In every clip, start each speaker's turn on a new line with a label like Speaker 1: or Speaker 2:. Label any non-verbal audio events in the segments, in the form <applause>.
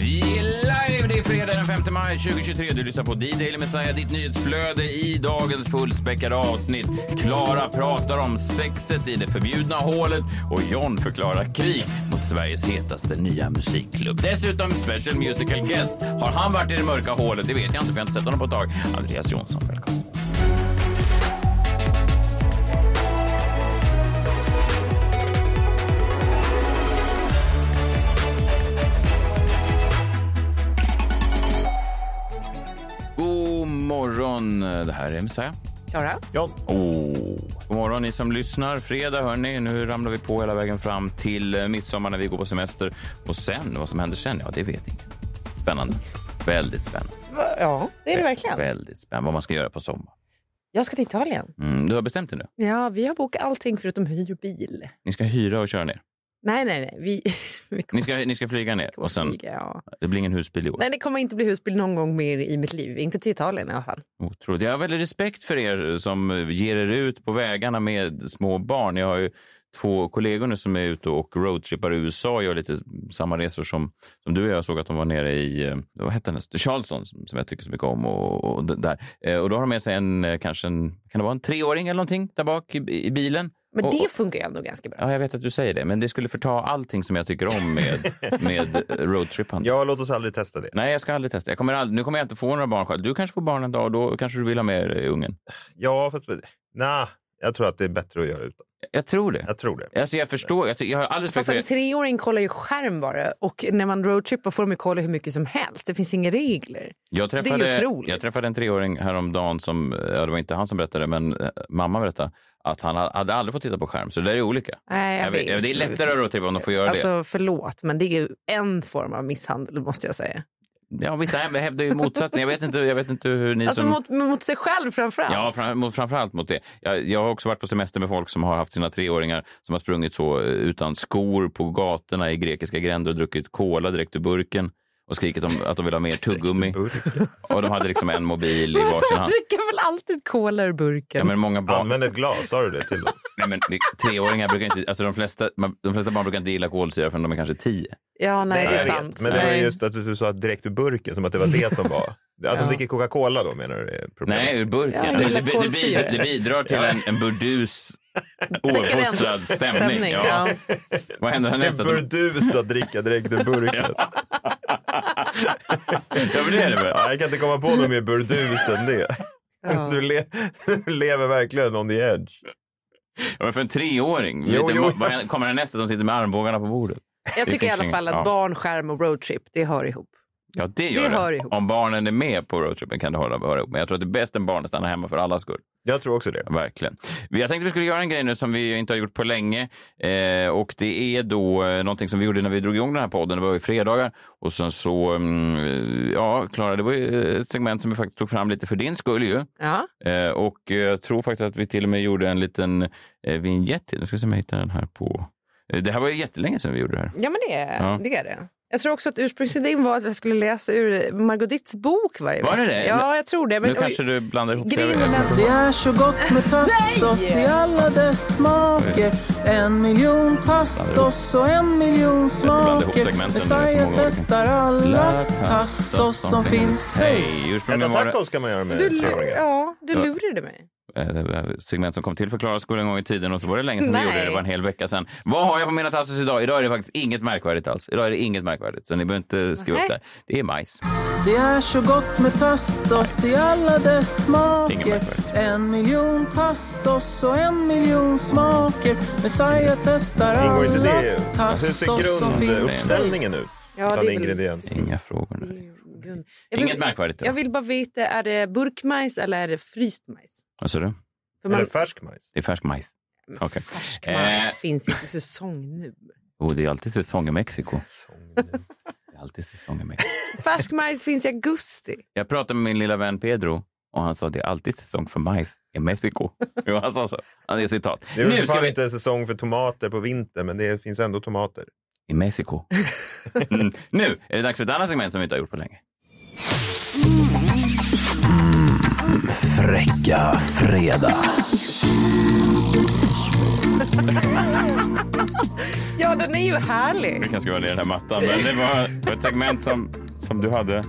Speaker 1: Vi är live! Det är fredag den 5 maj 2023. Du lyssnar på D-Daily Messiah, ditt nyhetsflöde i dagens fullspäckade avsnitt. Klara pratar om sexet i det förbjudna hålet och John förklarar krig mot Sveriges hetaste nya musikklubb. Dessutom special musical guest. Har han varit i det mörka hålet? Det vet jag inte, för jag har inte sett honom på ett tag. Andreas Jonsson, välkommen. God morgon, det här är Messiah.
Speaker 2: Klara?
Speaker 1: Oh. God morgon ni som lyssnar. Fredag hörni, nu ramlar vi på hela vägen fram till eh, midsommar när vi går på semester. Och sen, vad som händer sen, ja det vet ingen. Spännande. Väldigt spännande.
Speaker 2: Ja, det är det verkligen.
Speaker 1: Väldigt spännande vad man ska göra på sommar.
Speaker 2: Jag ska till Italien.
Speaker 1: Mm, du har bestämt dig nu?
Speaker 2: Ja, vi har bokat allting förutom hyrbil.
Speaker 1: Ni ska hyra och köra ner.
Speaker 2: Nej, nej, nej. Vi, <laughs> vi kommer
Speaker 1: Ni ska, ni ska flyga ner och sen,
Speaker 2: flyga, ja.
Speaker 1: det blir ingen husbil i år.
Speaker 2: Nej, det kommer inte bli husbil någon gång mer i mitt liv. Inte till Italien i alla fall.
Speaker 1: Otroligt. Jag har väldigt respekt för er som ger er ut på vägarna med små barn. Jag har ju två kollegor nu som är ute och roadtrippar i USA och gör lite samma resor som, som du och jag såg att de var nere i eh, vad hette hennes? Charleston som som jag tycker så mycket om. Och, och, d- där. Eh, och då har de med sig en, eh, kanske en, kan det vara en treåring eller någonting där bak i, i bilen.
Speaker 2: Men
Speaker 1: och,
Speaker 2: det
Speaker 1: och,
Speaker 2: funkar ju ändå ganska bra.
Speaker 1: Ja, jag vet att du säger det, men det skulle förta allting som jag tycker om
Speaker 2: <laughs>
Speaker 1: med, med roadtrippande.
Speaker 3: Ja, låt oss aldrig testa det.
Speaker 1: Nej, jag ska aldrig testa. Jag kommer aldrig, nu kommer jag inte få några barn själv. Du kanske får barn en dag och då kanske du vill ha med dig ungen.
Speaker 3: Ja, fast... Nej, jag tror att det är bättre att göra utan.
Speaker 1: Jag tror det.
Speaker 3: Jag tror det.
Speaker 1: Alltså jag förstår. Jag, ty- jag har all respekt
Speaker 2: Fast
Speaker 1: för
Speaker 2: en
Speaker 1: det.
Speaker 2: treåring kollar ju skärm bara. Och när man roadtrippar får de ju kolla hur mycket som helst. Det finns inga regler.
Speaker 1: Jag
Speaker 2: är ju
Speaker 1: träffade,
Speaker 2: otroligt.
Speaker 1: jag träffade en treåring häromdagen som, ja, det var inte han som berättade, men eh, mamma berättade att han ha- hade aldrig fått titta på skärm. Så det där är olika.
Speaker 2: Nej, jag
Speaker 1: Jag vet-
Speaker 2: vet.
Speaker 1: det är lättare att roadtrippa om de får göra
Speaker 2: Alltså, förlåt, men det är ju en form av misshandel måste jag säga.
Speaker 1: det. Ja, vissa hem- hävdar ju motsatsen. Jag vet inte, jag vet inte hur ni
Speaker 2: Alltså
Speaker 1: som...
Speaker 2: mot, mot sig själv framför allt.
Speaker 1: Ja, fram, mot, framförallt mot det. Jag, jag har också varit på semester med folk som har haft sina treåringar som har sprungit så eh, utan skor på gatorna i grekiska gränder och druckit cola direkt ur burken och skrikit om att de vill ha mer tuggummi.
Speaker 3: Burk.
Speaker 1: Och de hade liksom en mobil i
Speaker 2: <laughs>
Speaker 1: varsin
Speaker 2: Man
Speaker 1: hand.
Speaker 2: dricker väl alltid cola ur burken?
Speaker 1: Ja, men många barn,
Speaker 3: Använd ett glas, sa du det till dem?
Speaker 1: Nej, men det- treåringar brukar inte... Alltså de, flesta, man, de flesta barn brukar inte gilla kolsyra förrän de är kanske tio.
Speaker 2: Ja, nej, <laughs> det
Speaker 3: Jag
Speaker 2: är
Speaker 3: vet,
Speaker 2: sant.
Speaker 3: Men det var
Speaker 2: nej.
Speaker 3: just att du sa direkt ur burken, som att det var det som var...
Speaker 2: <laughs>
Speaker 3: Att
Speaker 2: Ja.
Speaker 3: de dricker Coca-Cola då, menar du? Är problemet?
Speaker 1: Nej, ur burken.
Speaker 2: Ja, jag
Speaker 1: det,
Speaker 2: gillar
Speaker 1: det, bi- det, bi-
Speaker 2: kolsyra.
Speaker 1: det bidrar till en, en burdus, ouppfostrad stämning.
Speaker 2: Stämning,
Speaker 1: ja.
Speaker 2: ja.
Speaker 1: <laughs> Vad händer
Speaker 3: det är
Speaker 1: härnäst? Att de-
Speaker 3: burdust att dricka direkt
Speaker 1: <laughs>
Speaker 3: ur burken.
Speaker 1: Ja, men det är det väl?
Speaker 3: Ja, jag kan inte komma på något mer burdust än det.
Speaker 2: Ja.
Speaker 3: <laughs> Du, le- du lever verkligen on the edge.
Speaker 1: Ja, men för en treåring,
Speaker 3: Jo,
Speaker 1: vet du,
Speaker 3: jo.
Speaker 1: vad- vad händer- kommer härnäst? Att de sitter med armbågarna på bordet.
Speaker 2: Jag
Speaker 1: Det
Speaker 2: tycker i
Speaker 1: finns
Speaker 2: alla
Speaker 1: ingen-
Speaker 2: fall att
Speaker 1: ja.
Speaker 2: barn, skärm och roadtrip, det hör ihop.
Speaker 1: Ja, det gör
Speaker 2: Det
Speaker 1: det.
Speaker 2: hör ihop.
Speaker 1: Om barnen är med på roadtripen kan det höra, höra ihop. Men jag tror att det är bäst en barn stannar hemma för alla skull.
Speaker 3: Jag tror också det.
Speaker 1: Verkligen. Jag tänkte vi skulle göra en grej nu som vi inte har gjort på länge. Eh, och det är då eh, någonting som vi gjorde när vi drog igång den här podden. Det var ju fredagar. Och sen så, mm, ja, Klara, det var ju eh, ett segment som vi faktiskt tog fram lite för din skull ju.
Speaker 2: Ja.
Speaker 1: Eh, och eh, jag tror faktiskt att vi till och med gjorde en liten eh, vignett till. Nu ska vi se om jag hittar den här på... Eh, det här var ju jättelänge sedan vi gjorde det här.
Speaker 2: ja, men det är,
Speaker 1: Ja.
Speaker 2: det är det. Jag tror också att ursprungsidén var att jag skulle läsa ur Margot Ditts bok varje
Speaker 1: Var det
Speaker 2: vecka.
Speaker 1: det?
Speaker 2: Ja, jag tror det. Men,
Speaker 1: nu kanske du blandar ihop det.
Speaker 2: grejen är att
Speaker 4: Det är så gott med tassos i alla dess smaker En miljon tassos och en miljon
Speaker 1: blandar ihop
Speaker 4: smaker
Speaker 1: segmenten, det är så många
Speaker 4: Messiah
Speaker 1: olika.
Speaker 4: testar alla tassos som finns
Speaker 1: Hej! Ursprungligen
Speaker 3: Äta
Speaker 1: var det...
Speaker 3: tacos kan man göra med
Speaker 2: du, lu-
Speaker 3: treåringar.
Speaker 2: ja, du lurade mig.
Speaker 1: eh, segment som kom till för Klara skola en gång i tiden och så var det länge sedan vi
Speaker 2: Nej.
Speaker 1: gjorde det. Det var en hel vecka sedan. Vad har jag på mina tassos idag? Idag är det faktiskt inget märkvärdigt alls. Idag är det inget märkvärdigt, så ni behöver inte skriva upp
Speaker 2: Nej.
Speaker 1: det. Det är majs.
Speaker 4: Det är så gott med tassos i alla dess
Speaker 1: Ingen
Speaker 4: smaker
Speaker 1: märkvärdigt.
Speaker 4: En miljon tassos och en miljon smaker Messiah testar
Speaker 3: Ingår
Speaker 4: alla
Speaker 3: inte det? Alltså, hur
Speaker 4: tassos som
Speaker 3: ser
Speaker 4: finns
Speaker 3: grunduppställningen ut?
Speaker 2: Ja,
Speaker 3: bland
Speaker 2: det är väl-
Speaker 3: ingredienser.
Speaker 1: Inga frågor nu.
Speaker 2: Gun- Jag
Speaker 1: Inget märkvärdigt.
Speaker 2: Jag
Speaker 1: Vill...
Speaker 2: vill bara veta, är det burkmajs eller är det fryst majs?
Speaker 1: Vad sa du?
Speaker 2: För
Speaker 3: Eller
Speaker 2: man,
Speaker 3: färsk majs.
Speaker 1: Det är färsk majs. Okej.
Speaker 2: färsk
Speaker 1: Eh.
Speaker 2: majs finns ju inte säsong nu.
Speaker 1: Oh, det är alltid säsong i Mexiko. Det är alltid säsong i Mexiko.
Speaker 2: Färsk majs finns i augusti.
Speaker 1: Jag pratade med min lilla vän Pedro Och han sa det är alltid säsong för majs i Mexiko. jo, han sa så. Han är citat.
Speaker 3: Det är
Speaker 1: Nu
Speaker 3: väl
Speaker 1: ska
Speaker 3: fan
Speaker 1: vi...
Speaker 3: inte säsong för tomater på vintern, men det finns ändå tomater.
Speaker 1: I Mexiko. mm. Nu är det dags för ett annat segment som vi inte har gjort på länge.
Speaker 5: Fräcka fredag.
Speaker 2: Ja, den är ju härlig.
Speaker 1: Vi kan skriva ner den här mattan, men det var ett segment som, som du hade.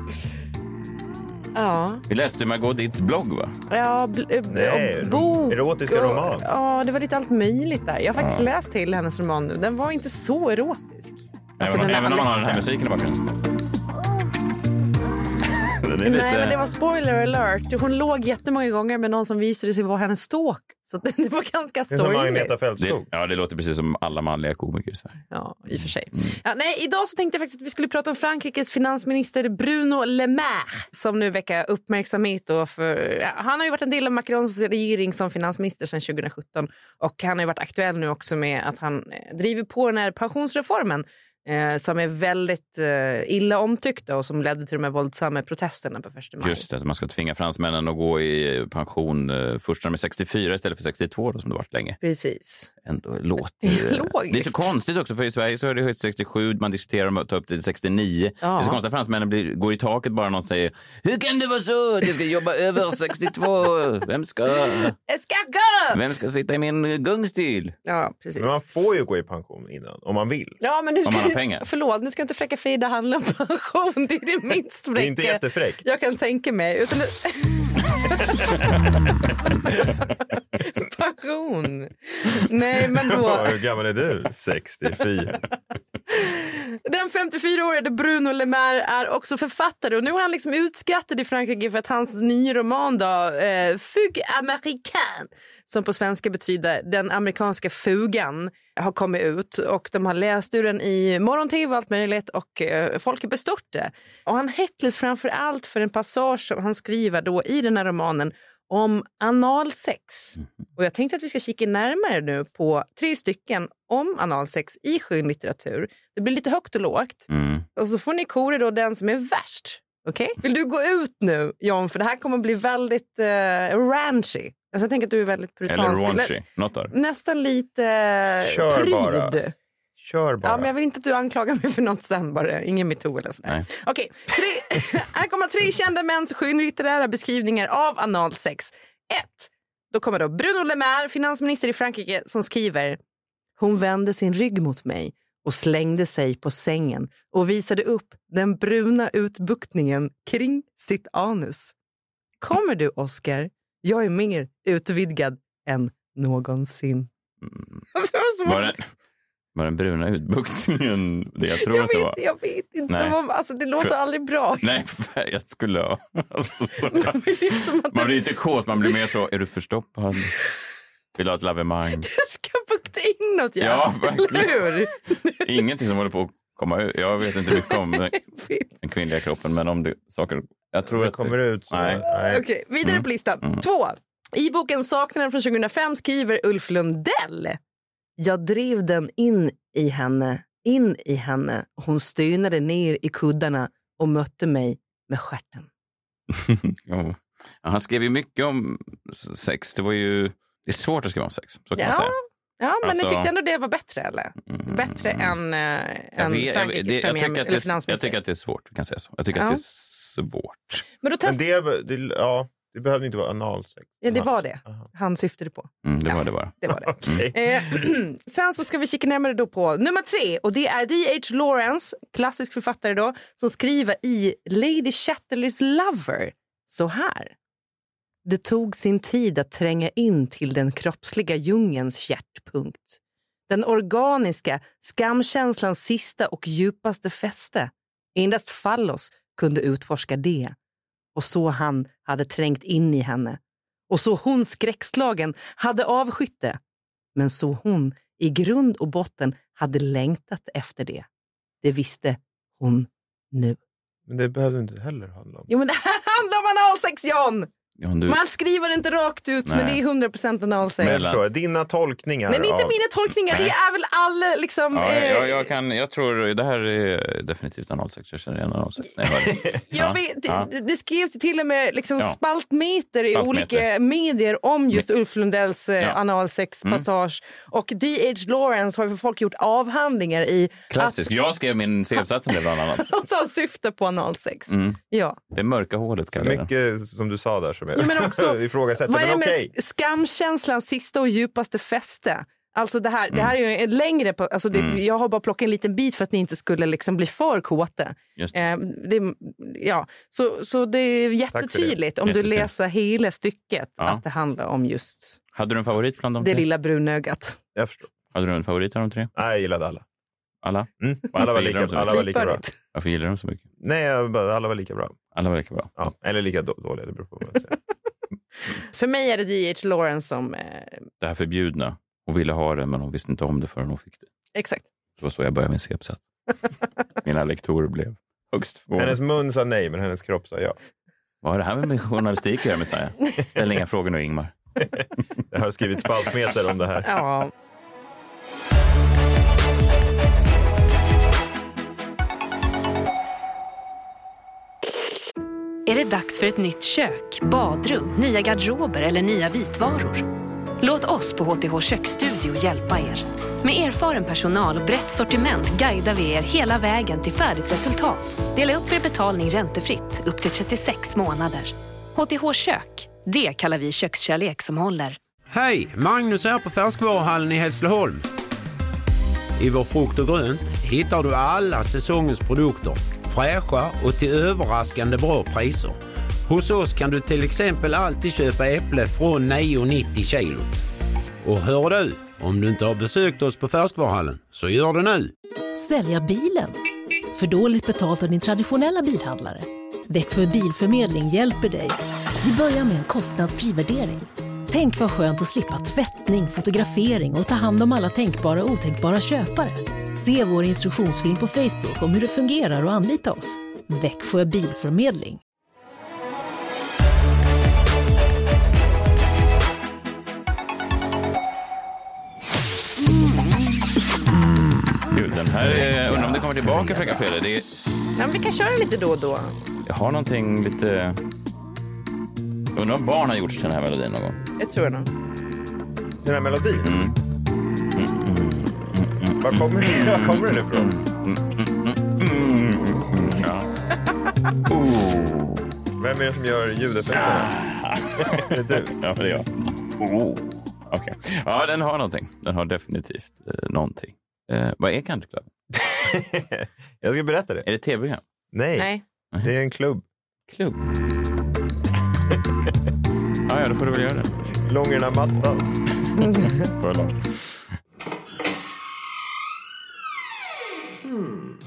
Speaker 2: Ja,
Speaker 1: Vi läste Margaux blogg, va?
Speaker 2: ja bl- eh,
Speaker 3: Nej,
Speaker 2: och bok.
Speaker 3: erotiska
Speaker 2: och-
Speaker 3: roman.
Speaker 2: Ja, det var lite allt möjligt där. Jag har faktiskt läst till hennes roman nu. Den var inte så erotisk. Alltså,
Speaker 1: även
Speaker 2: den där
Speaker 1: även om man har den här
Speaker 2: Alexen.
Speaker 1: musiken i bakgrunden. <laughs> Den är
Speaker 2: Nej, men det
Speaker 1: lite...
Speaker 2: var spoiler alert. Hon låg jättemånga gånger med någon som visade sig vara hennes stalk. Så <laughs> det, det var ganska
Speaker 3: Det är som Agneta
Speaker 2: sorgligt.
Speaker 1: Det,
Speaker 3: Fältskog.
Speaker 1: ja, det låter precis som alla manliga komiker i Sverige.
Speaker 2: Ja, i och för sig. Ja, nej, idag så tänkte jag faktiskt att vi skulle prata om Frankrikes finansminister Bruno Le Maire som nu väcker uppmärksamhet. Och för, ja, han har ju varit en del av Macrons regering som finansminister sedan 2017 och han har ju varit aktuell nu också med att han eh, driver på den här pensionsreformen eh, som är väldigt eh, illa omtyckt då, och som ledde till de här våldsamma protesterna på första maj.
Speaker 1: Just det, att man ska tvinga fransmännen att gå i pension eh, först när de är 64 istället för 62 då, som det varit länge.
Speaker 2: Precis.
Speaker 1: Ändå låter... eh,
Speaker 2: <laughs> Logiskt.
Speaker 1: Det är så konstigt också, för i Sverige så är det höjt till 67, man diskuterar om att ta upp det till 69.
Speaker 2: Ja.
Speaker 1: Det är så konstigt att fransmännen blir, går i taket bara någon säger “Hur kan det vara så? Det ska jobba <laughs> över 62! Vem ska,
Speaker 2: Eskaka!
Speaker 1: vem ska sitta i min gungstil?”
Speaker 2: Ja, precis.
Speaker 3: Men man får ju gå i pension innan, om man vill.
Speaker 2: Ja, men nu ska,
Speaker 1: man har pengar.
Speaker 2: Förlåt, nu ska inte Fräcka Frida handla om pension. Det är det minst fräcka
Speaker 3: Det är inte jättefräckt.
Speaker 2: jag kan tänka mig. Utan pension. Nej, men då.
Speaker 3: Hur gammal är du? 64.
Speaker 2: Den 54-årige Bruno Le Maire är också författare och nu är han liksom utskrattad i Frankrike för att hans nya roman då, eh, Fug Americain, som på svenska betyder Den amerikanska fugan, har kommit ut och de har läst ur den i morgon-tv och allt möjligt och eh, folk är bestörta. Och han häcklas framför allt för en passage som han skriver då i den här romanen om analsex. Och jag tänkte att vi ska kika närmare nu på tre stycken om analsex i skönlitteratur. Det blir lite högt och lågt.
Speaker 1: Mm.
Speaker 2: Och så får ni kora då den som är värst. Okej? Vill du gå ut nu, John? För det här kommer bli väldigt eh, ranchy. Alltså, jag tänker att du är väldigt
Speaker 1: Eller
Speaker 2: puritansk.
Speaker 1: raunchy, något där.
Speaker 2: Nä- Nästan lite eh,
Speaker 3: Kör
Speaker 2: pryd.
Speaker 3: bara. Kör bara.
Speaker 2: Ja, men jag vill inte att du anklagar mig för något sen bara. Ingen metoo eller sådär.
Speaker 1: Nej.
Speaker 2: Okej, tre, <laughs> här kommer tre kända mäns skönlitterära beskrivningar av analsex. Ett, då kommer då Bruno Le Maire, finansminister i Frankrike, som skriver Hon vände sin rygg mot mig och slängde sig på sängen och visade upp den bruna utbuktningen kring sitt anus. Kommer du, Oscar? Jag är mer utvidgad än någonsin. <laughs> Det var så
Speaker 1: Var den, var den bruna utbuktningen det jag tror
Speaker 2: jag
Speaker 1: att det
Speaker 2: vet,
Speaker 1: var?
Speaker 2: Jag vet inte.
Speaker 1: Nej.
Speaker 2: Vad, alltså, det låter
Speaker 1: För-
Speaker 2: aldrig bra. <laughs>
Speaker 1: Nej, <laughs> för jag skulle ha... Alltså, så,
Speaker 2: liksom att
Speaker 1: man blir inte kåt, man blir mer så, är du förstoppad? Vill du ha ett lavemang?
Speaker 2: Jag ska bukta inåt, ja.
Speaker 1: Ja, verkligen.
Speaker 2: Eller hur?
Speaker 1: Ingenting som håller på att komma ut. Jag vet inte mycket
Speaker 2: <laughs>
Speaker 1: om den- den kvinnliga kroppen, men om det saker... Jag tror
Speaker 3: det
Speaker 1: att <laughs>
Speaker 3: kommer ut. Så.
Speaker 1: Nej.
Speaker 3: Nej.
Speaker 2: Okej, vidare
Speaker 1: Mm.
Speaker 2: på listan. Två. I boken Saknaden från 2005 skriver Ulf Lundell. Jag drev den in i henne, in i henne. Hon stönade ner i kuddarna och mötte mig med stjärten.
Speaker 1: Ja. Ja, han skrev ju mycket om s- sex. Det var ju... Det är svårt att skriva om sex, så kan man
Speaker 2: Ja,
Speaker 1: säga.
Speaker 2: Ja,
Speaker 1: Alltså-
Speaker 2: men
Speaker 1: Mm.
Speaker 2: ni tyckte ändå det var bättre, eller? Bättre än, eh,
Speaker 1: Jag,
Speaker 2: än
Speaker 1: vet- jag,
Speaker 2: Frankrikes
Speaker 1: det, jag, tycker att
Speaker 2: premiär, eller
Speaker 1: det, är- jag
Speaker 2: finansminister.
Speaker 1: tycker att det är svårt, vi kan säga så. Jag tycker
Speaker 2: Ja.
Speaker 1: att det är svårt.
Speaker 2: Men då
Speaker 3: Men
Speaker 2: testade
Speaker 3: det, det, ja, det behövde inte vara analsex.
Speaker 2: Ja, det var det.
Speaker 3: Aha.
Speaker 2: han syftade på.
Speaker 1: Mm, det var det bara.
Speaker 2: Det var det.
Speaker 3: Okej.
Speaker 2: Eh, <clears throat> sen så ska vi kika närmare då på nummer tre och det är D.H. Lawrence, klassisk författare då, som skriver i Lady Chatterleys Lover så här. Det tog sin tid att tränga in till den kroppsliga djungens hjärtpunkt. Den organiska skamkänslans sista och djupaste fäste. Endast Fallos kunde utforska det. Och så han hade trängt in i henne. Och så hon skräckslagen hade avskytt det men så hon i grund och botten hade längtat efter det. Det visste hon nu.
Speaker 3: Men det behövde inte heller handla om.
Speaker 2: <laughs> Jo, men det här handlar om analsex, John!
Speaker 1: Om du...
Speaker 2: Man skriver det inte rakt ut, men
Speaker 1: Nej.
Speaker 2: det är 100% analsex.
Speaker 3: Jag
Speaker 1: Mellan-
Speaker 3: förstår, dina tolkningar
Speaker 2: Men det är inte
Speaker 3: av-
Speaker 2: mina tolkningar, det är väl all... Liksom,
Speaker 1: Ja,
Speaker 2: eh,
Speaker 1: jag, jag, kan, jag tror det här är definitivt analsex. Jag känner igen analsex. Nej, vad-
Speaker 2: <laughs> Jag vet,
Speaker 1: ja.
Speaker 2: det, det skrevs ju till och med liksom
Speaker 1: Ja.
Speaker 2: spaltmeter i
Speaker 1: Spaltmeter.
Speaker 2: olika medier om just Ulf Lundells eh,
Speaker 1: Ja. Mm.
Speaker 2: analsexpassage. Och D.H. Lawrence har ju för folk gjort avhandlingar i
Speaker 1: Klassisk. Jag skrev min C-uppsats om det bland annat.
Speaker 2: <laughs> att han syftar på analsex.
Speaker 1: Mm.
Speaker 2: Ja.
Speaker 1: Det mörka hålet kallar jag det.
Speaker 3: Mycket som du sa där som jag
Speaker 2: Men också,
Speaker 3: <laughs> ifrågasätter.
Speaker 2: vad är
Speaker 3: Men
Speaker 2: det med
Speaker 3: okej.
Speaker 2: skamkänslans sista och djupaste fäste? Alltså det här, det här är ju
Speaker 3: Mm.
Speaker 2: en längre... på- Alltså det, Jag har bara plockat en liten bit för att ni inte skulle liksom bli för kåta.
Speaker 1: Just det.
Speaker 2: Eh, det, ja. så, så det är jättetydligt om du
Speaker 1: Jättetydligt.
Speaker 2: läser hela stycket
Speaker 1: Ja.
Speaker 2: att det handlar om just
Speaker 1: Hade du en favorit bland de
Speaker 2: det
Speaker 1: tre?
Speaker 2: lilla brunögat.
Speaker 3: Jag förstår.
Speaker 1: Hade du en favorit av de tre?
Speaker 3: Nej, jag gillade alla.
Speaker 1: Alla?
Speaker 3: Mm. Alla, var
Speaker 1: Varför gillar
Speaker 3: lika,
Speaker 1: de så
Speaker 3: alla var
Speaker 1: mycket?
Speaker 3: lika bra.
Speaker 2: Likvärdigt.
Speaker 1: Varför gillar du dem så mycket?
Speaker 3: Nej, jag bara- alla var lika bra.
Speaker 1: Alla verkar bra. Alltså,
Speaker 3: Ja. Eller lika då- dåliga, det beror på vad man säger.
Speaker 2: För mig är det D.H. Lawrence som... Eh,
Speaker 1: Det här förbjudna. Hon ville ha det, men hon visste inte om det förrän hon fick det.
Speaker 2: exakt.
Speaker 1: Det var så jag började min <laughs> C-uppsats. Mina lektorer blev högst
Speaker 3: Hennes
Speaker 1: förvånade.
Speaker 3: mun sa nej, men hennes kropp sa ja.
Speaker 1: Vad har det här med min journalistik att göra, Messiah? Ställ inga frågor nu, Ingmar.
Speaker 3: Jag har skrivit spaltmeter om det här.
Speaker 2: Ja.
Speaker 6: Är det dags för ett nytt kök, badrum, nya garderober eller nya vitvaror? Låt oss på HTH Köksstudio hjälpa er. Med erfaren personal och brett sortiment guidar vi er hela vägen till färdigt resultat. Dela upp er betalning räntefritt upp till 36 månader. HTH Kök, det kallar vi kökskärlek som håller.
Speaker 7: Hej! Magnus här på Färskvaruhallen i Hässleholm. I vår frukt och grönt hittar du alla säsongens produkter. Fräscha och till överraskande bra priser. Hos oss kan du till exempel alltid köpa äpple från 9,90 kilo. Och hör du, om du inte har besökt oss på Färskvaruhallen, så gör det nu!
Speaker 8: Sälja bilen? För dåligt betalt av din traditionella bilhandlare? Växjö Bilförmedling hjälper dig. Vi börjar med en kostnadsfri värdering. Tänk vad skönt att slippa tvättning, fotografering och ta hand om alla tänkbara och otänkbara köpare. Se vår instruktionsfilm på Facebook om hur det fungerar och anlita oss. Växjö Bilförmedling.
Speaker 1: Gud, den här är... Undrar om det kommer tillbaka, Fräcka Fredrik. Det är...
Speaker 2: Ja, men vi kan köra lite då och då.
Speaker 1: Jag har någonting lite... Undrar om barn har gjort till den här melodin någon gång.
Speaker 2: Jag tror nog.
Speaker 3: Den här melodin. Var kommer, var kommer den ifrån? Oh. Vem är det som gör ljudeffekterna? Det är du. <laughs>
Speaker 1: Ja, men det är jag. Oh. Okej. Ja, den har någonting. Den har definitivt eh, någonting. Eh, vad är Candy Club?
Speaker 3: Jag ska berätta det.
Speaker 1: Är det tv-program?
Speaker 3: Nej,
Speaker 2: Nej.
Speaker 3: det är en klubb.
Speaker 1: Klubb. <laughs> ja, ja, då får du väl göra det.
Speaker 3: Långerna mattan.
Speaker 1: Får jag långt.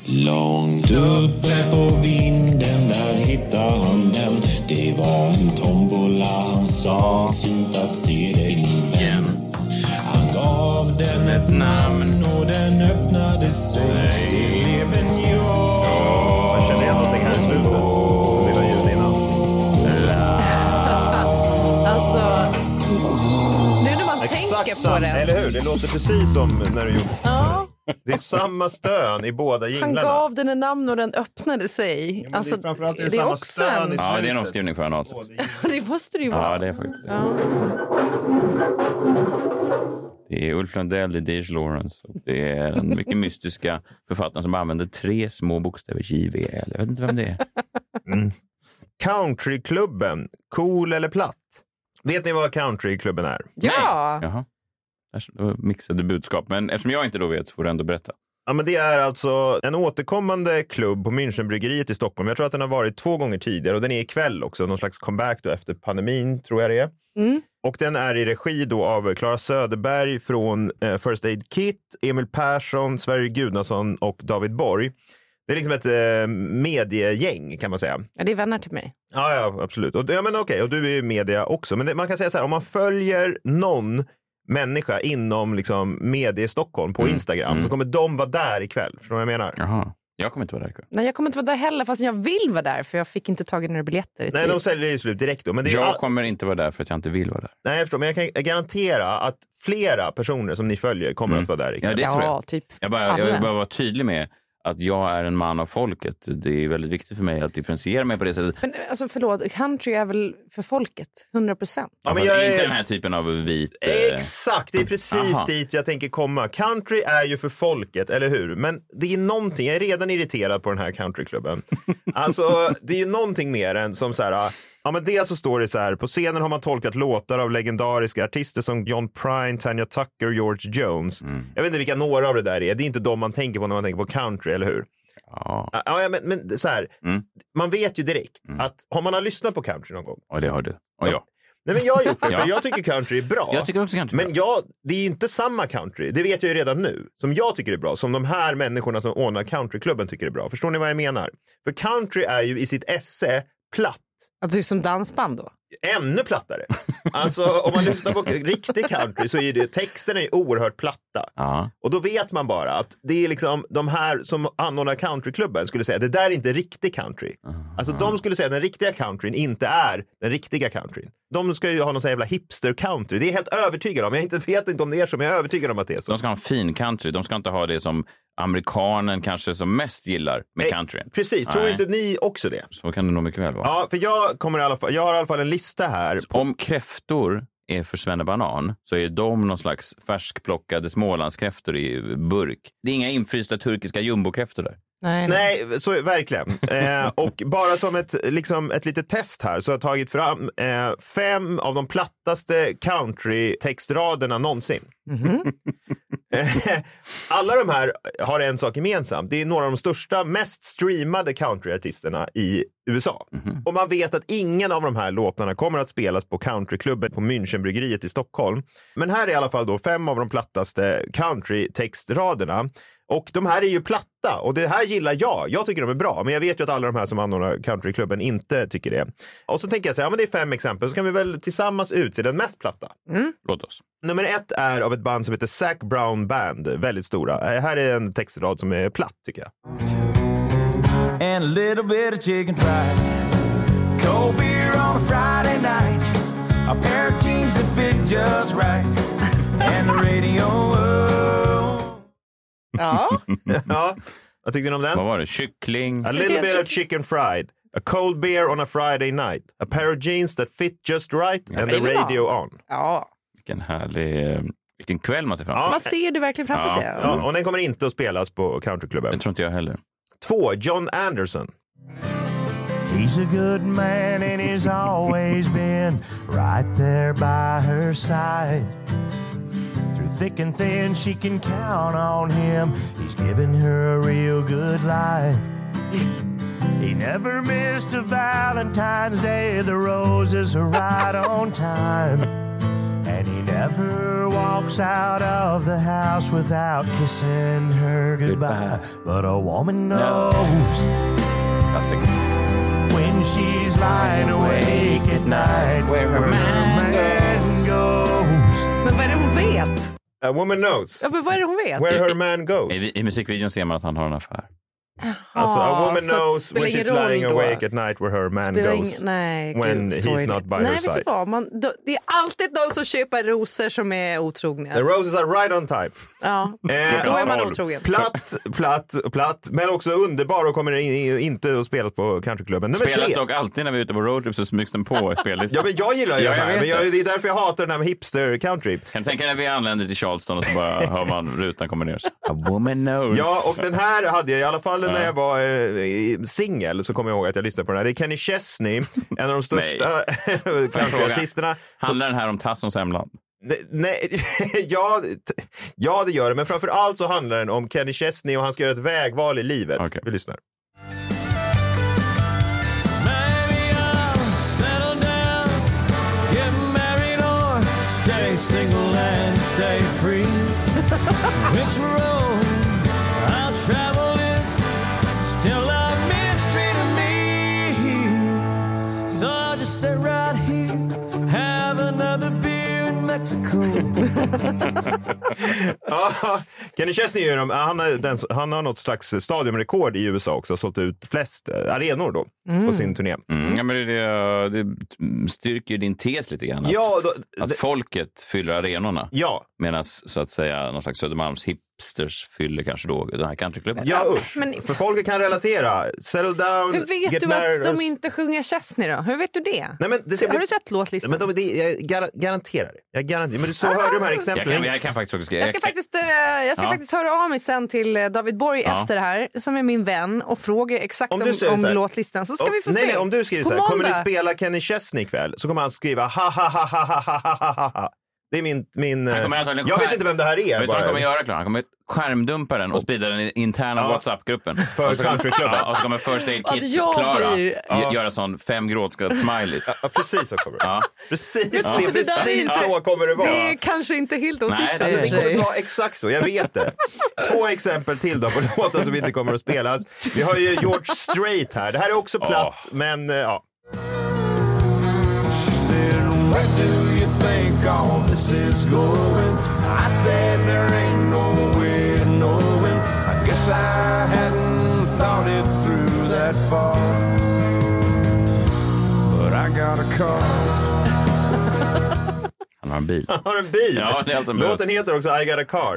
Speaker 9: Långt uppe på vinden där hittade han den Det var en tombola han sa fint att se dig min vän Han gav den ett namn och den öppnade sig till även jag
Speaker 3: Jag känner igen någonting här i slutet. Det var ljud innan.
Speaker 2: <laughs> Alltså... Nu när man tänker på
Speaker 3: samma,
Speaker 2: det.
Speaker 3: eller hur? Det låter precis som när du gjorde...
Speaker 2: Ja.
Speaker 3: Det är samma stön i båda
Speaker 2: Han
Speaker 3: jinglarna.
Speaker 2: gav den en namn och den öppnade sig.
Speaker 3: men det är
Speaker 2: alltså,
Speaker 3: framförallt det är
Speaker 2: det är
Speaker 3: samma
Speaker 2: också
Speaker 3: stön
Speaker 2: en...
Speaker 3: i-
Speaker 1: Ja, det är en omskrivning för en avsats.
Speaker 2: <laughs> Det måste det ju vara.
Speaker 1: Ja, det är faktiskt det. Det är Ulf Lundell, det är Dej Lawrence och det är den mycket mystiska författaren som använder tre små bokstäver, JVL. Jag vet inte vem det är.
Speaker 3: Countryklubben, cool eller platt? Vet ni vad countryklubben är?
Speaker 2: Ja!
Speaker 1: Jaha. Där så- det var mixade budskap. Men eftersom jag inte då vet så får du ändå berätta.
Speaker 3: Ja, men det är alltså en återkommande klubb på Münchenbryggeriet i Stockholm. Jag tror att den har varit två gånger tidigare och den är ikväll också. Någon slags comeback då efter pandemin, tror jag det är.
Speaker 2: Mm.
Speaker 3: Och den är i regi då av Clara Söderberg från eh, First Aid Kit, Emil Persson, Sverige Gudnason och David Borg. Det är liksom ett eh, mediegäng kan man säga.
Speaker 2: ja, det är vänner till mig.
Speaker 3: Ja, ja absolut. Och, ja, men okej, och du är ju media också. Men det, man kan säga så här, om man följer någon människa
Speaker 1: Mm,
Speaker 3: inom liksom, media i Stockholm på Instagram så kommer de vara där ikväll. Förstår du vad jag menar?
Speaker 1: Jaha. Jag kommer inte vara där. Kurt.
Speaker 2: Nej, jag kommer inte vara där heller, fast jag vill vara där för jag fick inte tagit några biljetter i
Speaker 3: Nej,
Speaker 2: tid.
Speaker 3: de säljer ju slut direkt då. Men det är ju all-
Speaker 1: Jag kommer inte vara där för att jag inte vill vara där.
Speaker 3: Nej, jag förstår, men jag kan garantera att flera personer som ni följer kommer att vara där.
Speaker 1: Mm. Ja,
Speaker 3: ikväll.
Speaker 1: det tror jag.
Speaker 2: typ
Speaker 1: Jag bara, jag vill bara vara tydlig med att jag är en man av folket. Det är väldigt viktigt för mig att differentiera mig på det sättet.
Speaker 2: Men alltså förlåt, country är väl för folket, 100 procent.
Speaker 1: Ja, men
Speaker 3: men jag
Speaker 1: Alltså, Inte
Speaker 3: är-
Speaker 1: den här typen av vit... eh,
Speaker 3: Exakt, det är precis
Speaker 1: Aha.
Speaker 3: dit jag tänker komma. Country är ju för folket, eller hur? Men det är någonting, jag är redan irriterad på den
Speaker 1: <laughs>
Speaker 3: här countryklubben. Alltså, det är ju någonting mer än som så här, ah, ja men dels så står det så här, på scenen har man tolkat låtar av legendariska artister som John Prine, Tanya Tucker, George Jones.
Speaker 1: Mm.
Speaker 3: Jag vet inte vilka några av det där är, det är inte de man tänker på när man tänker på country, eller hur? Ah,
Speaker 1: Ja, Mm.
Speaker 3: Ja, ja, men, men så här, man vet ju direkt att har man har lyssnat på country någon gång,
Speaker 1: och det har du. Och jag.
Speaker 3: Nej men jag
Speaker 1: <laughs>
Speaker 3: har gjort det,
Speaker 1: Ja.
Speaker 3: för jag tycker country är bra.
Speaker 1: Jag tycker också country är
Speaker 3: Men jag, det är ju inte samma country, det vet jag ju redan nu, som jag tycker är bra, som de här människorna som ordnar countryklubben tycker är bra. Förstår ni vad jag menar? För country är ju i sitt esse platt,
Speaker 2: Alltså, du som dansband då?
Speaker 3: ännu plattare. Alltså om man lyssnar på riktig country så är det, texten är ju oerhört platta.
Speaker 1: Ja.
Speaker 3: Och då vet man bara att det är liksom de här som anordnar countryklubben skulle säga det där är inte riktig country. Alltså de skulle säga att den riktiga countryn inte är den riktiga countryn. De ska ju ha någon sån här jävla hipster country. Det är jag helt övertygad om. Jag inte- vet inte om det är så, men jag är övertygad om att det är så.
Speaker 1: De ska ha en fin country. De ska inte ha det som amerikanen kanske som mest gillar med countryn.
Speaker 3: Precis, tror
Speaker 1: Nej.
Speaker 3: inte ni också det?
Speaker 1: Så kan det nog mycket väl vara.
Speaker 3: Ja, för jag, kommer i alla fall, jag har i alla fall en lista här.
Speaker 1: Om kräftor är för svennebanan så är de någon slags färskplockade smålandskräftor i burk. Det är inga infrysta turkiska jumbokräftor där.
Speaker 2: Nej,
Speaker 3: Nej, så verkligen. Eh, och bara som ett, liksom, ett litet test här så har jag tagit fram eh, fem av de plattaste country-textraderna någonsin. Eh, <laughs> Alla de här har en sak gemensamt. Det är några av de största, mest streamade countryartisterna i USA. Och man vet att ingen av de här låtarna kommer att spelas på countryklubben på Münchenbryggeriet i Stockholm. Men här är i alla fall då fem av de plattaste countrytextraderna. Och de här är ju platta och det här gillar jag. Jag tycker de är bra, men jag vet ju att alla de här som anordnar countryklubben inte tycker det. Och så tänker jag så här, ja men det är fem exempel, så kan vi väl tillsammans utse den mest platta.
Speaker 1: Låt oss.
Speaker 3: Nummer ett är av ett band som heter Zac Brown Band. Väldigt stora. Eh, Här är en textrad som är platt tycker jag.
Speaker 9: and a little bit of chicken fried. Cold beer on a Friday night, a pair of jeans that fit just right, and the radio. oh, up.
Speaker 2: <laughs> Ja,
Speaker 3: <laughs> ja, vad tyckte ni om den?
Speaker 1: Vad var det? Kyckling?
Speaker 3: A little bit of chicken fried. A cold beer on a Friday night. A pair of jeans that fit just right and the
Speaker 2: det är bra.
Speaker 3: radio on.
Speaker 2: ja.
Speaker 1: Vilken härlig... eh, Vilken kväll man ser framför sig.
Speaker 2: Man ser det verkligen framför sig.
Speaker 3: Ja, och den kommer inte att spelas på countryklubben.
Speaker 1: Det tror inte jag heller.
Speaker 3: Två, John Anderson.
Speaker 9: He's a good man and he's always been right there by her side. Through thick and thin, she can count on him. He's given her a real good life. He never missed a Valentine's Day. The roses are right on time. And he never walks out of the house without kissing her goodbye. But a woman
Speaker 1: No.
Speaker 9: knows
Speaker 1: Klassiker.
Speaker 9: when she's lying awake at night where her man goes.
Speaker 2: Men vad är det hon vet?
Speaker 3: A woman knows
Speaker 2: Ja, men vad är det hon vet?
Speaker 3: where her man goes.
Speaker 1: I, I musikvideon ser man att han har en affär.
Speaker 3: Alltså,
Speaker 2: Ja,
Speaker 3: a woman
Speaker 2: Ah, så att
Speaker 3: knows
Speaker 2: spelar
Speaker 3: when
Speaker 2: ingen
Speaker 3: she's lying
Speaker 2: roll då.
Speaker 3: awake at night where her man
Speaker 2: Spelar
Speaker 3: goes.
Speaker 2: ingen- nej,
Speaker 3: when
Speaker 2: gud,
Speaker 3: he's
Speaker 2: sorgligt.
Speaker 3: not by
Speaker 2: nej,
Speaker 3: her
Speaker 2: vet du
Speaker 3: side.
Speaker 2: vad? Man, då- det är alltid de som köper rosor som är otrogna.
Speaker 3: The roses are right on time.
Speaker 2: Ja. <laughs>
Speaker 3: Eh,
Speaker 2: Då är man
Speaker 3: tolv.
Speaker 2: otrogen.
Speaker 3: Platt, platt, platt, men också underbar och kommer in, inte att spela på countryklubben. Nummer
Speaker 1: Spelas
Speaker 3: tre.
Speaker 1: dock alltid när vi är ute på roadtrip så smygs den på i
Speaker 3: Ja,
Speaker 1: spellistan.
Speaker 3: men jag gillar ju
Speaker 1: Ja,
Speaker 3: den
Speaker 1: jag
Speaker 3: här,
Speaker 1: vet
Speaker 3: men
Speaker 1: det. Mm.
Speaker 3: jag, det är därför jag hatar den här med hipster country.
Speaker 1: Kan du tänka dig när vi anländer till Charleston och så bara hör man rutan kommer ner. A woman knows.
Speaker 3: Ja, och den här hade jag i alla fall när jag var eh, singel så kommer jag ihåg att jag lyssnade på den här. Det är Kenny Chesney,
Speaker 1: <laughs>
Speaker 3: en av de största <laughs> countryartisterna.
Speaker 1: Handlar den här om Tassons hemland?
Speaker 3: Nej, Nej, <laughs> ja, t- ja, det gör det, men framför allt så handlar den om Kenny Chesney och han ska göra ett vägval i livet.
Speaker 1: Okej.
Speaker 3: Vi lyssnar.
Speaker 9: Maybe I'll settle down, get married or stay single and stay free. Which road I'll travel is still a mystery to me. So I'll just sit right here, have another beer in Mexico.
Speaker 3: Ja, <laughs> Kenny Chesney är ju de, han, har den, han har något slags stadionrekord i USA också, sålt ut flest eh, arenor då på sin turné.
Speaker 1: Mm, ja, men det, det, det styrker ju din tes lite grann. Att,
Speaker 3: Ja, då,
Speaker 1: att
Speaker 3: det-
Speaker 1: folket fyller arenorna.
Speaker 3: Ja.
Speaker 1: Medan så att säga någon slags Södermalms hipsters fyller kanske då den här countryklubben.
Speaker 3: Ja, usch.
Speaker 2: Men-
Speaker 3: För folk kan relatera. Settle down,
Speaker 2: Hur vet
Speaker 3: get
Speaker 2: du
Speaker 3: married
Speaker 2: att de
Speaker 3: or-
Speaker 2: inte sjunger Chesney då? Hur vet du det?
Speaker 3: Nej, men det ska
Speaker 2: Har
Speaker 3: bli-
Speaker 2: du sett låtlistan?
Speaker 3: Men de, det- jag gar- garanterar det. Jag garanterar. Men du så hör du de här
Speaker 1: Jag
Speaker 3: exemplen.
Speaker 1: kan, jag kan faktiskt också...
Speaker 2: Jag ska faktiskt, eh, jag ska
Speaker 3: Ja.
Speaker 2: faktiskt höra av mig sen till eh, David Borg
Speaker 3: Ja.
Speaker 2: efter det här, som är min vän, och fråga exakt om,
Speaker 3: du säger
Speaker 2: om
Speaker 3: så här-
Speaker 2: låtlistan. Så ska
Speaker 3: Om-
Speaker 2: vi få
Speaker 3: nej,
Speaker 2: se.
Speaker 3: Nej, om du skriver
Speaker 2: På
Speaker 3: så här, kommer ni
Speaker 2: måndag.
Speaker 3: spela Kenny Chesney ikväll? Så kommer han skriva ha ha ha ha ha ha ha, ha ha. Det är min... min eh,
Speaker 1: antagligen
Speaker 3: jag
Speaker 1: skär-
Speaker 3: vet inte vem det här
Speaker 1: Vet
Speaker 3: är.
Speaker 1: du vad han kommer
Speaker 3: Bara.
Speaker 1: göra, Klara? Han kommer skärmdumpa den och sprida den i den interna WhatsApp-gruppen. För
Speaker 3: countryklubben.
Speaker 1: Alltså, Ja, och så kommer First Aid
Speaker 2: Att
Speaker 1: Kit,
Speaker 2: jag
Speaker 1: Klara,
Speaker 2: blir-
Speaker 1: gö- göra sån fem gråtskratt-smileys.
Speaker 3: Ja, precis så kommer det
Speaker 1: Ja.
Speaker 3: Precis,
Speaker 2: Ja.
Speaker 3: det, är
Speaker 2: Men det där är
Speaker 3: precis
Speaker 2: inte-
Speaker 3: så kommer det vara.
Speaker 2: Det är kanske inte helt
Speaker 3: Nej,
Speaker 2: otippat.
Speaker 3: det,
Speaker 2: i och
Speaker 3: alltså,
Speaker 2: för
Speaker 3: det
Speaker 2: sig.
Speaker 3: kommer att vara exakt så, jag vet det. Två exempel till då på <laughs> låtar som inte kommer att spelas. Vi har ju George Strait här. Det här är också platt, men eh, ja.
Speaker 9: Where do you think all this is going? I said there ain't no way of knowing. I guess I hadn't thought it through that far. But I got a car.
Speaker 1: Han har en bil.
Speaker 3: Han har en bil.
Speaker 1: Ja, det är alltså en
Speaker 3: Låten
Speaker 1: bös.
Speaker 3: heter också I got a
Speaker 1: <laughs>
Speaker 3: car.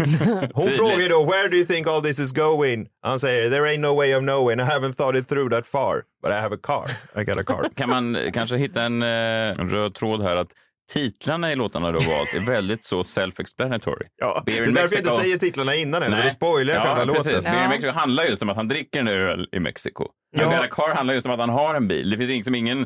Speaker 3: Hon
Speaker 1: Tydligt.
Speaker 3: frågar ju då, where do you think all this is going? Han säger, there ain't no way of knowing. I haven't thought it through that far. But I have a car. I got a
Speaker 1: <laughs>
Speaker 3: car.
Speaker 1: Kan man eh, kanske hitta en, eh, en röd tråd här att titlarna i låtarna du har valt är väldigt så self-explanatory.
Speaker 3: Ja, det
Speaker 1: Beer
Speaker 3: är
Speaker 1: in
Speaker 3: därför jag
Speaker 1: Mexico.
Speaker 3: inte säger titlarna innan, eller
Speaker 1: Nej.
Speaker 3: då spoilar jag
Speaker 1: ja,
Speaker 3: själva
Speaker 1: precis.
Speaker 3: låten.
Speaker 1: Beer in Mexico handlar just om att han dricker en öl i Mexiko. Ja. Got a car handlar just om att han har en bil. Det finns liksom ingen...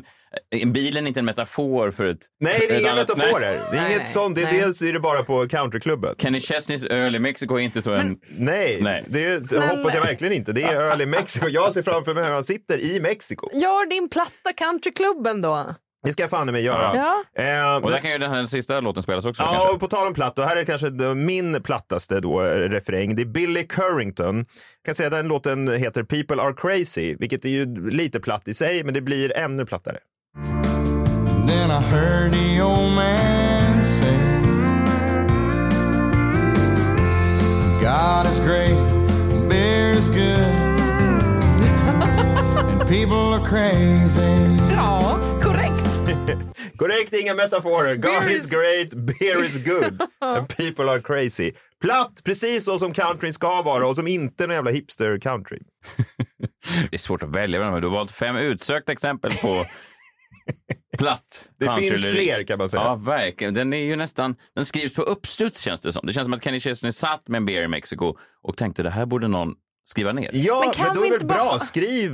Speaker 1: en- Bilen är inte en metafor för ett...
Speaker 3: Nej, det
Speaker 1: ett
Speaker 3: är inga
Speaker 1: annat-
Speaker 3: metaforer.
Speaker 1: Nej.
Speaker 3: Det är
Speaker 2: Nej,
Speaker 3: inget
Speaker 2: nej,
Speaker 3: sånt. Det är
Speaker 2: nej.
Speaker 3: dels är det bara på countryklubben.
Speaker 1: Kenny Chesneys öl i Mexiko är inte så en...
Speaker 3: Nej,
Speaker 1: Nej.
Speaker 3: det är-
Speaker 2: Snälla.
Speaker 3: hoppas jag verkligen inte. Det är öl i Mexiko. Jag ser framför mig hur han sitter i Mexiko.
Speaker 2: Gör din platta countryklubben då.
Speaker 3: Det ska jag fan i mig göra.
Speaker 2: Ja.
Speaker 3: Eh,
Speaker 1: Och där
Speaker 3: men-
Speaker 1: kan ju den här sista låten spelas också.
Speaker 3: Ja,
Speaker 1: kanske.
Speaker 3: och på tal om platt, då, här är kanske då min plattaste då, eh, refräng. Det är Billy Currington. Jag kan säga att den låten heter People Are Crazy, vilket är ju lite platt i sig, men det blir ännu plattare.
Speaker 9: Then I heard the old man say, God is great, beer is good, and people are crazy.
Speaker 2: Ja, korrekt.
Speaker 3: Korrekt, inga metaforer. God
Speaker 2: Beer
Speaker 3: is
Speaker 2: is-
Speaker 3: great, beer
Speaker 2: <laughs>
Speaker 3: is good, and people are crazy. Platt, precis så som countryn ska vara och som inte är någon jävla hipster-country.
Speaker 1: Det är svårt att välja mellan, men du har valt fem utsökta exempel
Speaker 3: <laughs>
Speaker 1: på platt
Speaker 3: Det finns
Speaker 1: countrylyrik.
Speaker 3: fler, kan man säga.
Speaker 1: Ja, verkligen. Den är ju nästan... Den skrivs på uppstuds, känns det som. Det känns som att Kenny Chesney satt med en beer i Mexiko och tänkte det här borde någon skriva ner.
Speaker 3: Ja,
Speaker 2: Men
Speaker 3: men,
Speaker 2: kan
Speaker 3: då
Speaker 2: vi
Speaker 3: är det
Speaker 2: inte
Speaker 3: väl
Speaker 2: bara- Mm.
Speaker 3: bra. Skriv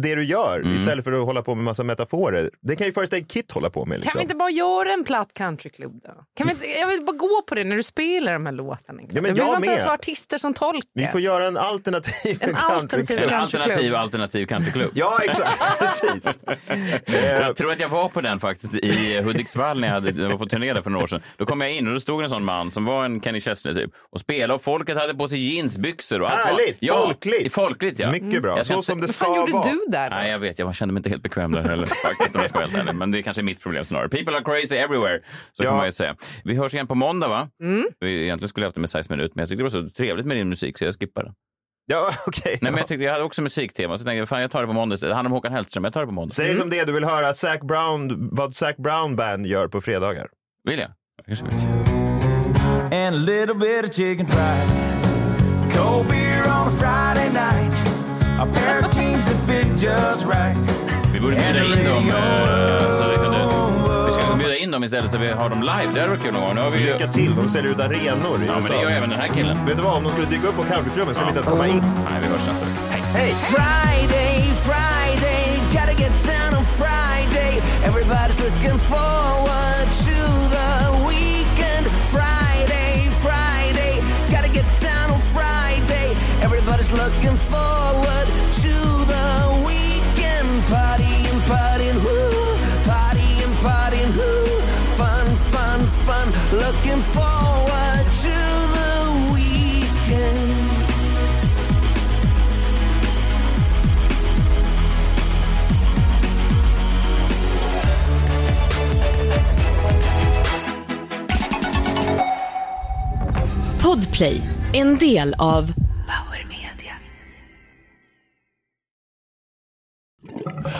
Speaker 3: det du gör istället för att hålla på med massa metaforer. Det kan ju First Aid Kit hålla på med. Liksom.
Speaker 2: Kan vi inte bara göra en platt countryklubb då? Kan vi inte, jag vill bara gå på det när du spelar de här låtarna.
Speaker 3: Ja, men
Speaker 2: det behöver
Speaker 3: jag
Speaker 2: inte
Speaker 3: med.
Speaker 2: ens vara artister som tolkar.
Speaker 3: Vi får göra en alternativ
Speaker 2: <laughs> En alternativ
Speaker 1: En
Speaker 3: countryklubb.
Speaker 2: countryklubb.
Speaker 1: alternativ, alternativ countryklubb.
Speaker 3: Ja,
Speaker 2: <laughs>
Speaker 3: exakt. Precis. Eh,
Speaker 1: Jag tror att jag var på den faktiskt i eh, Hudiksvall när jag, hade, jag var på turné där för några år sedan. Då kom jag in och då stod en sån man som var en Kenny Chesney typ och spelade och folket hade på sig jeansbyxor. Och allt var-
Speaker 3: Härligt,
Speaker 1: ja,
Speaker 3: folkligt.
Speaker 1: Folkligt, ja.
Speaker 3: Mycket bra.
Speaker 1: Jag ska
Speaker 3: Så
Speaker 1: inte-
Speaker 3: som det
Speaker 2: Vad
Speaker 3: ska
Speaker 2: fan gjorde
Speaker 3: vara.
Speaker 2: du där då?
Speaker 1: Nej, jag vet. Jag kände mig inte helt bekväm där
Speaker 3: <laughs>
Speaker 1: heller faktiskt om jag ska vara helt ärlig. Men det är kanske är mitt problem snarare. People are crazy everywhere. Så kan man ju säga. Vi hörs igen på måndag va?
Speaker 3: Mm.
Speaker 1: Vi, egentligen skulle jag haft det med Size Minut, men jag tyckte det var så trevligt med din musik så jag skippade.
Speaker 3: Ja, <laughs> okej.
Speaker 1: Nej, men jag, tyckte, jag hade också musiktema så tänkte jag fan jag tar det på måndag istället. Det handlar om Håkan Hellström, jag tar det på måndag.
Speaker 3: Säg som det är, du vill höra Zac Brown, vad Zac Brown Band gör på fredagar.
Speaker 1: Vill jag? Jag kanske vill.
Speaker 9: and a little bit of chicken fried. Cold beer on a Friday night. A pair of jeans that fit just right.
Speaker 1: Vi borde bjuda in dem eh, så vi kunde... Vi ska bjuda in dem istället så vi har dem live. Det hade varit kul någon gång. Nu har vi ju...
Speaker 3: Lycka till, alltså. de säljer ut arenor i
Speaker 1: Ja, men
Speaker 3: USA.
Speaker 1: det gör även den här killen.
Speaker 3: Vet du vad, om de skulle dyka upp på countryklubben skulle de inte ens komma in.
Speaker 1: Nej, vi hörs nästa vecka. Hej!
Speaker 3: Hej!
Speaker 10: Friday, Friday, gotta get down on Friday. Everybody's looking forward to the weekend. Friday, Friday, gotta get down on Friday. Everybody's looking forward to the weekend. Partying, partying, woo, partying, partying, woo. Fun, fun, fun, looking forward to the weekend.
Speaker 8: Podplay,
Speaker 6: En del av